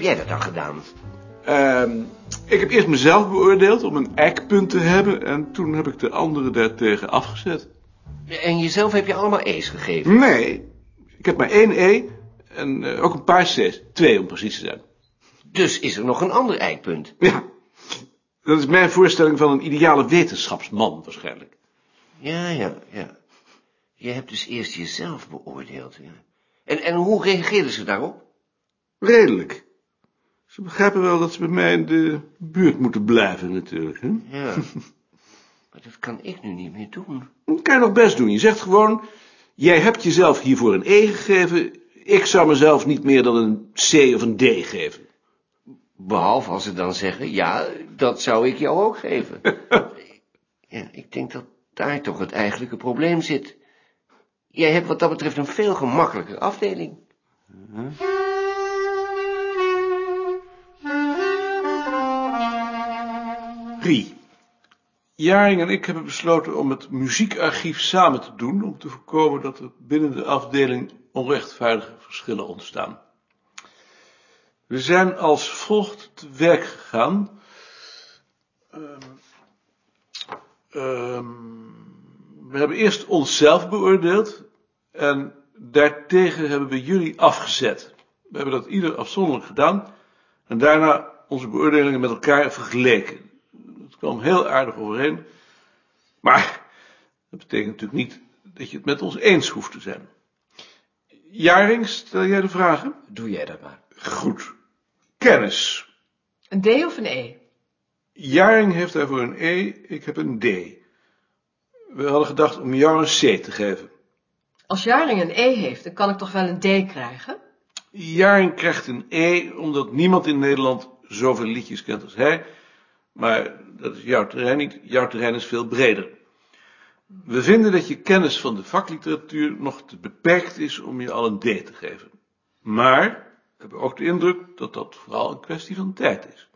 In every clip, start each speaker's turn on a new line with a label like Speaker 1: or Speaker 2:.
Speaker 1: jij dat dan gedaan?
Speaker 2: Ehm, ik heb eerst mezelf beoordeeld om een eikpunt te hebben... en toen heb ik de anderen daartegen afgezet.
Speaker 1: En jezelf heb je allemaal E's gegeven.
Speaker 2: Nee, ik heb maar één E en eh, ook een paar C's. Twee om precies te zijn.
Speaker 1: Dus is er nog een ander eikpunt.
Speaker 2: Ja, dat is mijn voorstelling van een ideale wetenschapsman waarschijnlijk.
Speaker 1: Ja, ja, ja. Je hebt dus eerst jezelf beoordeeld. Ja. En, en hoe reageerden ze daarop?
Speaker 2: Redelijk. Ze begrijpen wel dat ze bij mij in de buurt moeten blijven natuurlijk. Hè?
Speaker 1: Ja. maar dat kan ik nu niet meer doen.
Speaker 2: Dat kan je nog best doen. Je zegt gewoon, jij hebt jezelf hiervoor een E gegeven. Ik zou mezelf niet meer dan een C of een D geven.
Speaker 1: Behalve als ze dan zeggen, ja, dat zou ik jou ook geven. ja, ik denk dat daar toch het eigenlijke probleem zit. Jij hebt wat dat betreft een veel gemakkelijker afdeling.
Speaker 2: Rie. Jaring en ik hebben besloten om het muziekarchief samen te doen... om te voorkomen dat er binnen de afdeling onrechtvaardige verschillen ontstaan. We zijn als volgt te werk gegaan. Ehm, ehm, we hebben eerst onszelf beoordeeld... en daartegen hebben we jullie afgezet. We hebben dat ieder afzonderlijk gedaan... en daarna onze beoordelingen met elkaar vergeleken... Het kwam heel aardig overeen. Maar dat betekent natuurlijk niet dat je het met ons eens hoeft te zijn. Jaring, stel jij de vragen?
Speaker 3: Doe jij dat maar.
Speaker 2: Goed. Kennis.
Speaker 4: Een D of een E?
Speaker 2: Jaring heeft daarvoor een E, ik heb een D. We hadden gedacht om jou een C te geven.
Speaker 4: Als Jaring een E heeft, dan kan ik toch wel een D krijgen?
Speaker 2: Jaring krijgt een E omdat niemand in Nederland zoveel liedjes kent als hij. Maar dat is jouw terrein niet. Jouw terrein is veel breder. We vinden dat je kennis van de vakliteratuur nog te beperkt is om je al een D te geven. Maar we hebben ook de indruk dat dat vooral een kwestie van tijd is.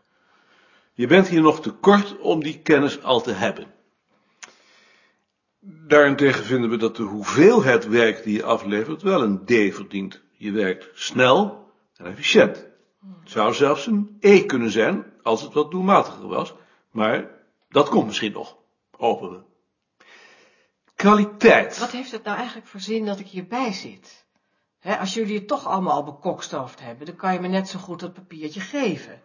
Speaker 2: Je bent hier nog te kort om die kennis al te hebben. Daarentegen vinden we dat de hoeveelheid werk die je aflevert wel een D verdient. Je werkt snel en efficiënt. Het zou zelfs een E kunnen zijn als het wat doelmatiger was, maar dat komt misschien nog. Hopen we. Kwaliteit.
Speaker 4: Wat heeft het nou eigenlijk voor zin dat ik hierbij zit? Hè, als jullie het toch allemaal al bekokstoofd hebben, dan kan je me net zo goed dat papiertje geven.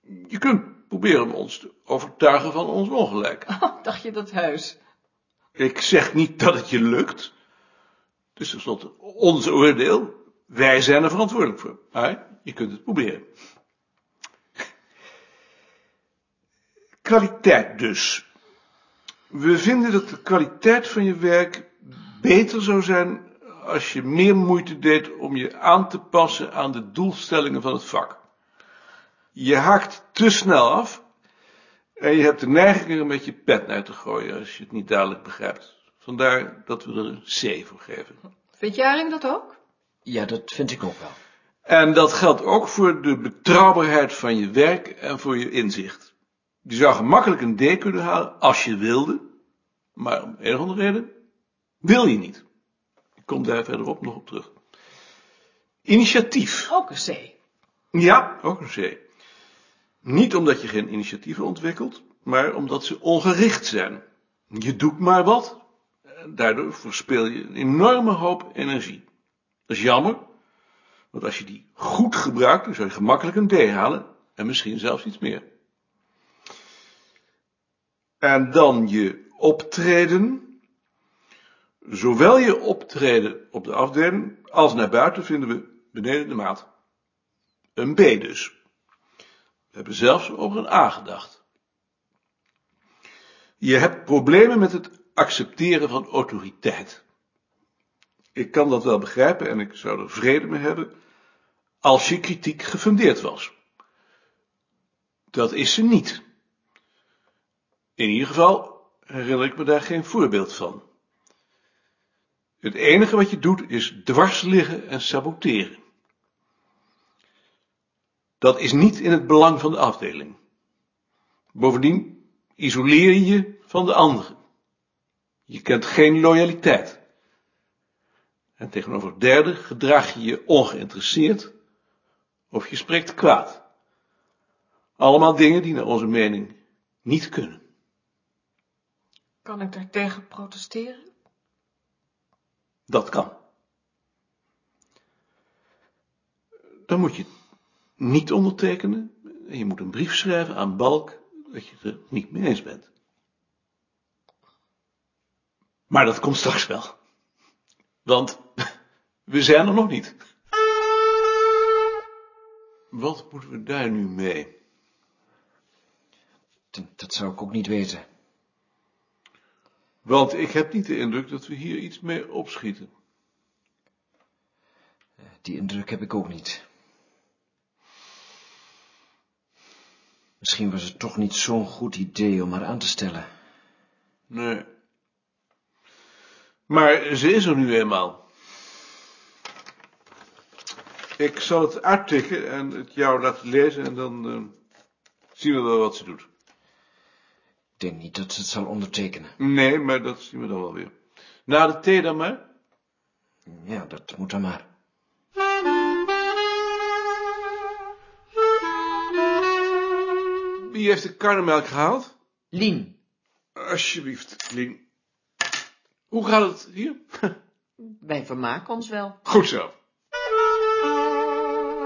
Speaker 2: Je kunt proberen ons te overtuigen van ons ongelijk.
Speaker 4: Oh, dacht je dat huis?
Speaker 2: Ik zeg niet dat het je lukt. Het is tenslotte ons oordeel. Wij zijn er verantwoordelijk voor. Maar je kunt het proberen. Kwaliteit dus. We vinden dat de kwaliteit van je werk beter zou zijn als je meer moeite deed om je aan te passen aan de doelstellingen van het vak. Je haakt te snel af en je hebt de neiging er een beetje pet uit te gooien als je het niet dadelijk begrijpt. Vandaar dat we er een C voor geven.
Speaker 4: Vindt Jaring dat ook?
Speaker 3: Ja, dat vind ik ook wel.
Speaker 2: En dat geldt ook voor de betrouwbaarheid van je werk en voor je inzicht. Je zou gemakkelijk een D kunnen halen als je wilde, maar om een of andere reden wil je niet. Ik kom daar verderop nog op terug. Initiatief.
Speaker 4: Ook een C.
Speaker 2: Ja, ook een C. Niet omdat je geen initiatieven ontwikkelt, maar omdat ze ongericht zijn. Je doet maar wat. En Daardoor verspil je een enorme hoop energie. Dat is jammer, want als je die goed gebruikt, dan zou je gemakkelijk een D halen en misschien zelfs iets meer. En dan je optreden. Zowel je optreden op de afdeling als naar buiten vinden we beneden de maat. Een B dus. We hebben zelfs over een A gedacht. Je hebt problemen met het accepteren van autoriteit. Ik kan dat wel begrijpen en ik zou er vrede mee hebben als je kritiek gefundeerd was. Dat is ze niet. In ieder geval herinner ik me daar geen voorbeeld van. Het enige wat je doet is dwars liggen en saboteren. Dat is niet in het belang van de afdeling. Bovendien isoleer je je van de anderen. Je kent geen loyaliteit. En tegenover derden gedraag je je ongeïnteresseerd, Of je spreekt kwaad. Allemaal dingen die naar onze mening niet kunnen.
Speaker 4: Kan ik daartegen protesteren?
Speaker 2: Dat kan. Dan moet je het niet ondertekenen. En je moet een brief schrijven aan Balk dat je het er niet mee eens bent. Maar dat komt straks wel. Want we zijn er nog niet. Wat moeten we daar nu mee?
Speaker 3: Dat, dat zou ik ook niet weten.
Speaker 2: Want ik heb niet de indruk dat we hier iets mee opschieten.
Speaker 3: Die indruk heb ik ook niet. Misschien was het toch niet zo'n goed idee om haar aan te stellen.
Speaker 2: Nee. Maar ze is er nu eenmaal. Ik zal het uittikken en het jou laten lezen en dan ehm, zien we wel wat ze doet.
Speaker 3: Ik denk niet dat ze het zal ondertekenen.
Speaker 2: Nee, maar dat zien we dan wel weer. Na de thee dan maar.
Speaker 3: Ja, dat moet dan maar.
Speaker 2: Wie heeft de karnemelk gehaald?
Speaker 5: Lien,
Speaker 2: Alsjeblieft, Lien. Hoe gaat het hier?
Speaker 5: wij vermaken ons wel.
Speaker 2: Goed zo.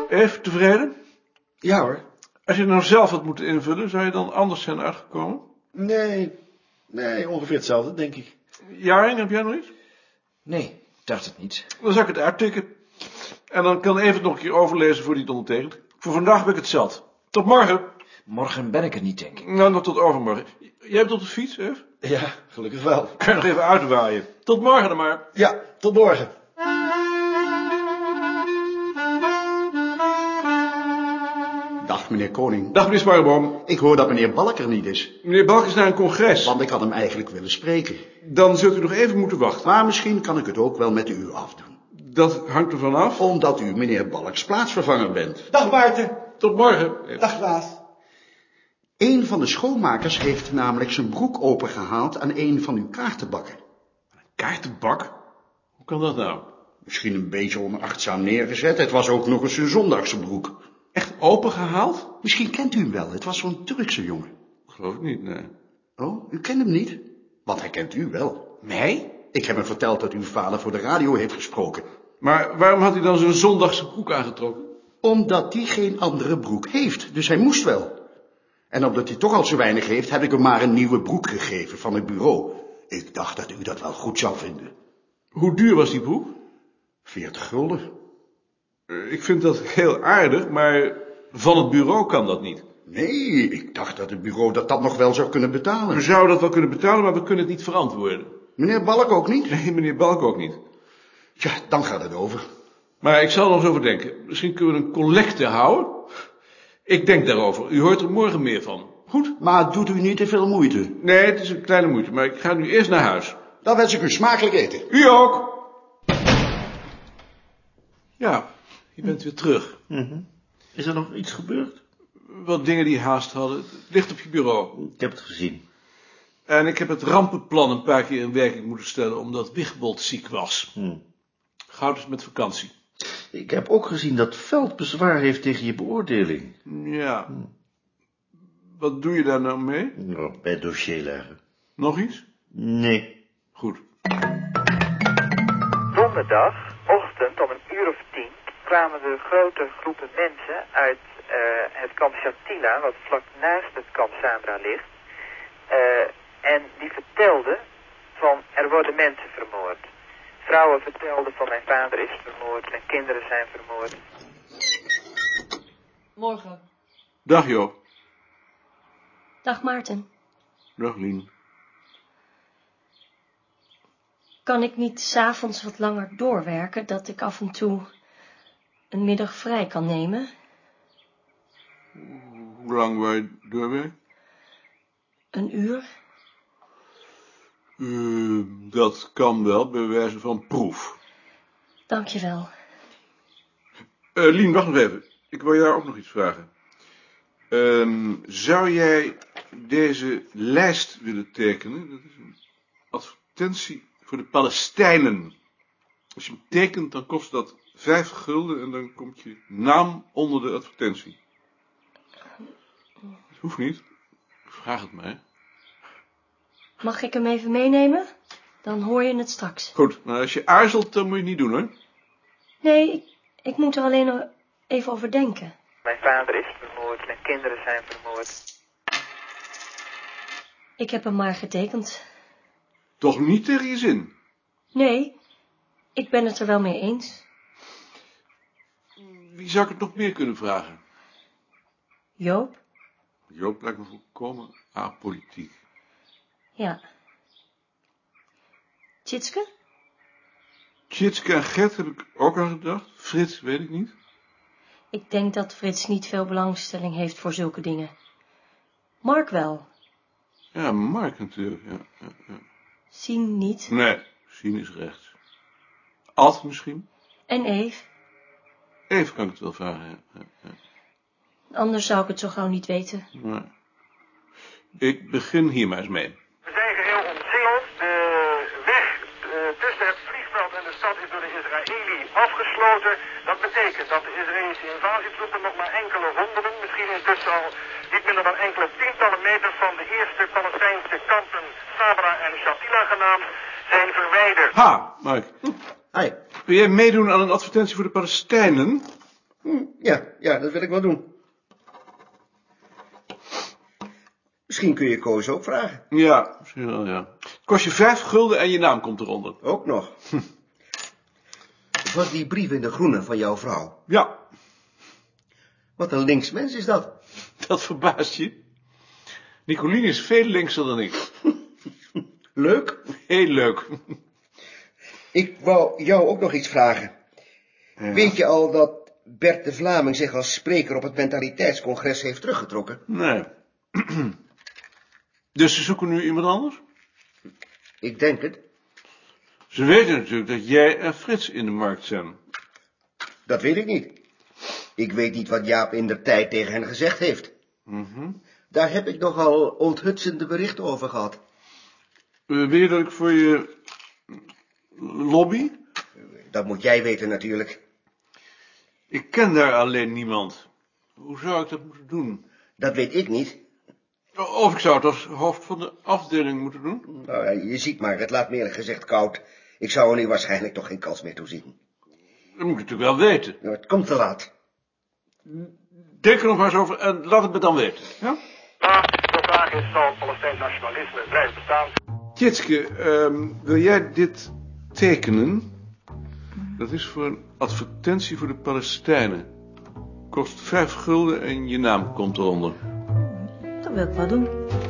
Speaker 2: Even tevreden?
Speaker 6: Ja hoor.
Speaker 2: Als je het nou zelf had moeten invullen, zou je dan anders zijn uitgekomen?
Speaker 6: Nee, nee, ongeveer hetzelfde, denk ik.
Speaker 2: Jaring, heb jij nog iets?
Speaker 3: Nee, ik dacht het niet.
Speaker 2: Dan zal ik het uittikken. En dan kan even nog een keer overlezen voor die het ondertekent. Voor vandaag ben ik het zat. Tot morgen.
Speaker 3: Morgen ben ik er niet, denk ik.
Speaker 2: Nou, nog tot overmorgen. Jij hebt op de fiets, Ef?
Speaker 6: Ja, gelukkig wel.
Speaker 2: Kan je nog even uitwaaien. Tot morgen dan maar.
Speaker 6: Ja, tot morgen. Dag meneer Koning.
Speaker 2: Dag, meneer Sparrenboom.
Speaker 6: Ik hoor dat meneer Balk er niet is,
Speaker 2: Meneer Balk is naar een congres.
Speaker 6: want ik had hem eigenlijk willen spreken.
Speaker 2: Dan zult u nog even moeten wachten.
Speaker 6: Maar misschien kan ik het ook wel met u afdoen.
Speaker 2: Dat hangt ervan af.
Speaker 6: Omdat u meneer Balks plaatsvervanger bent.
Speaker 7: Dag Maarten.
Speaker 2: Tot morgen.
Speaker 7: Dag Klaas.
Speaker 6: Een van de schoonmakers heeft namelijk zijn broek opengehaald aan een van uw kaartenbakken.
Speaker 2: Kaartenbak? Hoe kan dat nou?
Speaker 6: Misschien een beetje onachtzaam neergezet. Het was ook nog eens een zondagse broek.
Speaker 2: Echt opengehaald?
Speaker 6: Misschien kent u hem wel. Het was zo'n Turkse jongen.
Speaker 2: Geloof ik niet, nee.
Speaker 6: Oh, u kent hem niet? Want hij kent u wel.
Speaker 2: Mij?
Speaker 6: Ik heb hem verteld dat uw vader voor de radio heeft gesproken.
Speaker 2: Maar waarom had hij dan zijn zondagse broek aangetrokken?
Speaker 6: Omdat hij geen andere broek heeft, dus hij moest wel. En omdat hij toch al zo weinig heeft, heb ik hem maar een nieuwe broek gegeven van het bureau. Ik dacht dat u dat wel goed zou vinden.
Speaker 2: Hoe duur was die broek?
Speaker 6: 40 gulden?
Speaker 2: Eh, Ik vind dat heel aardig, maar van het bureau kan dat niet.
Speaker 6: Nee, ik dacht dat het bureau dat dat nog wel zou kunnen
Speaker 2: We
Speaker 6: betalen.
Speaker 2: zouden dat wel kunnen betalen, maar we kunnen het niet verantwoorden.
Speaker 6: Meneer Balk ook niet?
Speaker 2: Nee, meneer Balk ook niet.
Speaker 6: Ja, dan gaat het over.
Speaker 2: Maar ik zal er nog eens over denken. Misschien kunnen we een collecte houden. Ik denk daarover. U hoort er morgen meer van. Goed?
Speaker 6: Maar doet u niet te veel moeite.
Speaker 2: Nee, het is een kleine moeite, maar ik ga nu eerst naar huis.
Speaker 6: Dan wens ik u smakelijk eten.
Speaker 2: U ook! Ja, je bent weer terug.
Speaker 7: Is er nog iets gebeurd?
Speaker 2: Wat dingen die haast hadden. Het ligt op je bureau.
Speaker 7: Ik heb het gezien.
Speaker 2: En ik heb het rampenplan een paar keer in werking moeten stellen, omdat Wigbold ziek was. Goud is met vakantie.
Speaker 7: Ik heb ook gezien dat Veld bezwaar heeft tegen je beoordeling.
Speaker 2: Hmm, Ja. Wat doe je daar nou mee?
Speaker 7: Nou, bij het dossier leggen.
Speaker 2: Nog iets?
Speaker 7: Nee.
Speaker 2: Goed.
Speaker 8: Donderdagochtend om een uur of tien kwamen de grote groepen mensen uit eh, het kamp Shatila, wat vlak naast het kamp Sabra ligt. Eh, en die vertelden van er worden mensen vermoord. Vrouwen vertelden van mijn vader is vermoord, mijn kinderen zijn vermoord.
Speaker 9: Morgen.
Speaker 2: Dag Joop.
Speaker 9: Dag Maarten.
Speaker 2: Dag Lien.
Speaker 9: Kan ik niet s'avonds wat langer doorwerken, dat ik af en toe een middag vrij kan nemen?
Speaker 2: Hoe lang wij doorwerk?
Speaker 9: Een uur?
Speaker 2: Eh, dat kan wel, bij wijze van proef.
Speaker 9: Dankjewel.
Speaker 2: Eh, Lien, wacht nog even. Ik wil jou ook nog iets vragen. Ehm, zou jij deze lijst willen tekenen? Dat is een advertentie voor de Palestijnen. Als je hem tekent, dan kost dat Vijf gulden en dan komt je naam onder de advertentie. Het hoeft niet. Vraag het mij.
Speaker 9: Mag ik hem even meenemen? Dan hoor je het straks.
Speaker 2: Goed, maar als je aarzelt, dan moet je het niet doen, hoor.
Speaker 9: Nee, ik, ik moet er alleen nog even over denken.
Speaker 8: Mijn vader is vermoord, mijn kinderen zijn vermoord.
Speaker 9: Ik heb hem maar getekend.
Speaker 2: Toch niet tegen je zin.
Speaker 9: Nee, ik ben het er wel mee eens.
Speaker 2: Wie zou ik het nog meer kunnen vragen?
Speaker 9: Joop?
Speaker 2: Joop lijkt me volkomen apolitiek.
Speaker 9: Ja. Tjitske?
Speaker 2: Tjitske en Gert heb ik ook aan gedacht. Frits weet ik niet.
Speaker 9: Ik denk dat Frits niet veel belangstelling heeft voor zulke dingen. Mark wel.
Speaker 2: Ja, Mark natuurlijk. Ja, ja, ja.
Speaker 9: Sien niet.
Speaker 2: Nee, Sien is rechts. Ad misschien?
Speaker 9: En Eve.
Speaker 2: Even kan ik het wel vragen. Ja, ja, ja.
Speaker 9: Anders zou ik het zo gauw niet weten.
Speaker 2: Maar ik begin hier maar eens mee.
Speaker 10: We zijn geheel omzingeld. De weg eh, tussen het vliegveld en de stad is door de Israëli afgesloten. Dat betekent dat de Israëlische invasietroepen nog maar enkele honderden, misschien intussen al niet minder dan enkele tientallen meters van de eerste Palestijnse kampen, Sabra en Shatila genaamd, zijn verwijderd.
Speaker 2: Ha, Mark.
Speaker 7: Hi.
Speaker 2: Wil jij meedoen aan een advertentie voor de Palestijnen?
Speaker 7: Hm, Ja, ja, dat wil ik wel doen. Misschien kun je Koos ook vragen.
Speaker 2: Ja, misschien wel, ja. Kost je vijf gulden en je naam komt eronder.
Speaker 7: Ook nog. Hm. Was die brief in de groene van jouw vrouw?
Speaker 2: Ja,
Speaker 7: Wat een linksmens is dat.
Speaker 2: dat verbaast je. Nicoline is veel linkser dan ik.
Speaker 7: Leuk.
Speaker 2: Heel leuk.
Speaker 7: Ik wou jou ook nog iets vragen. Weet je al dat Bert de Vlaming zich als spreker op het mentaliteitscongres heeft teruggetrokken?
Speaker 2: Nee. Dus ze zoeken nu iemand anders?
Speaker 7: Ik denk het.
Speaker 2: Ze weten natuurlijk dat jij en Frits in de markt zijn.
Speaker 7: Dat weet ik niet. Ik weet niet wat Jaap in de tijd tegen hen gezegd heeft.
Speaker 2: Mhm.
Speaker 7: Daar heb ik nogal onthutsende berichten over gehad.
Speaker 2: Eh, Wil je dat ik voor je lobby?
Speaker 7: Dat moet jij weten natuurlijk.
Speaker 2: Ik ken daar alleen niemand. Hoe zou ik dat moeten doen?
Speaker 7: Dat weet ik niet.
Speaker 2: Of ik zou het als hoofd van de afdeling moeten doen?
Speaker 7: Nou, ja, je ziet maar, het laat me eerlijk gezegd koud. Ik zou er nu waarschijnlijk toch geen kans meer toe zien.
Speaker 2: Dat moet ik natuurlijk wel weten.
Speaker 7: Ja, Het komt te laat.
Speaker 2: Denk er nog maar eens over en laat het me dan weten. Ja?
Speaker 10: Maar de vraag is, zal Palestijn nationalisme blijven bestaan?
Speaker 2: Tjitske, ehm, wil jij dit tekenen? Dat is voor een advertentie voor de Palestijnen. Kost vijf gulden en je naam komt eronder.
Speaker 9: Dat wil ik wel doen.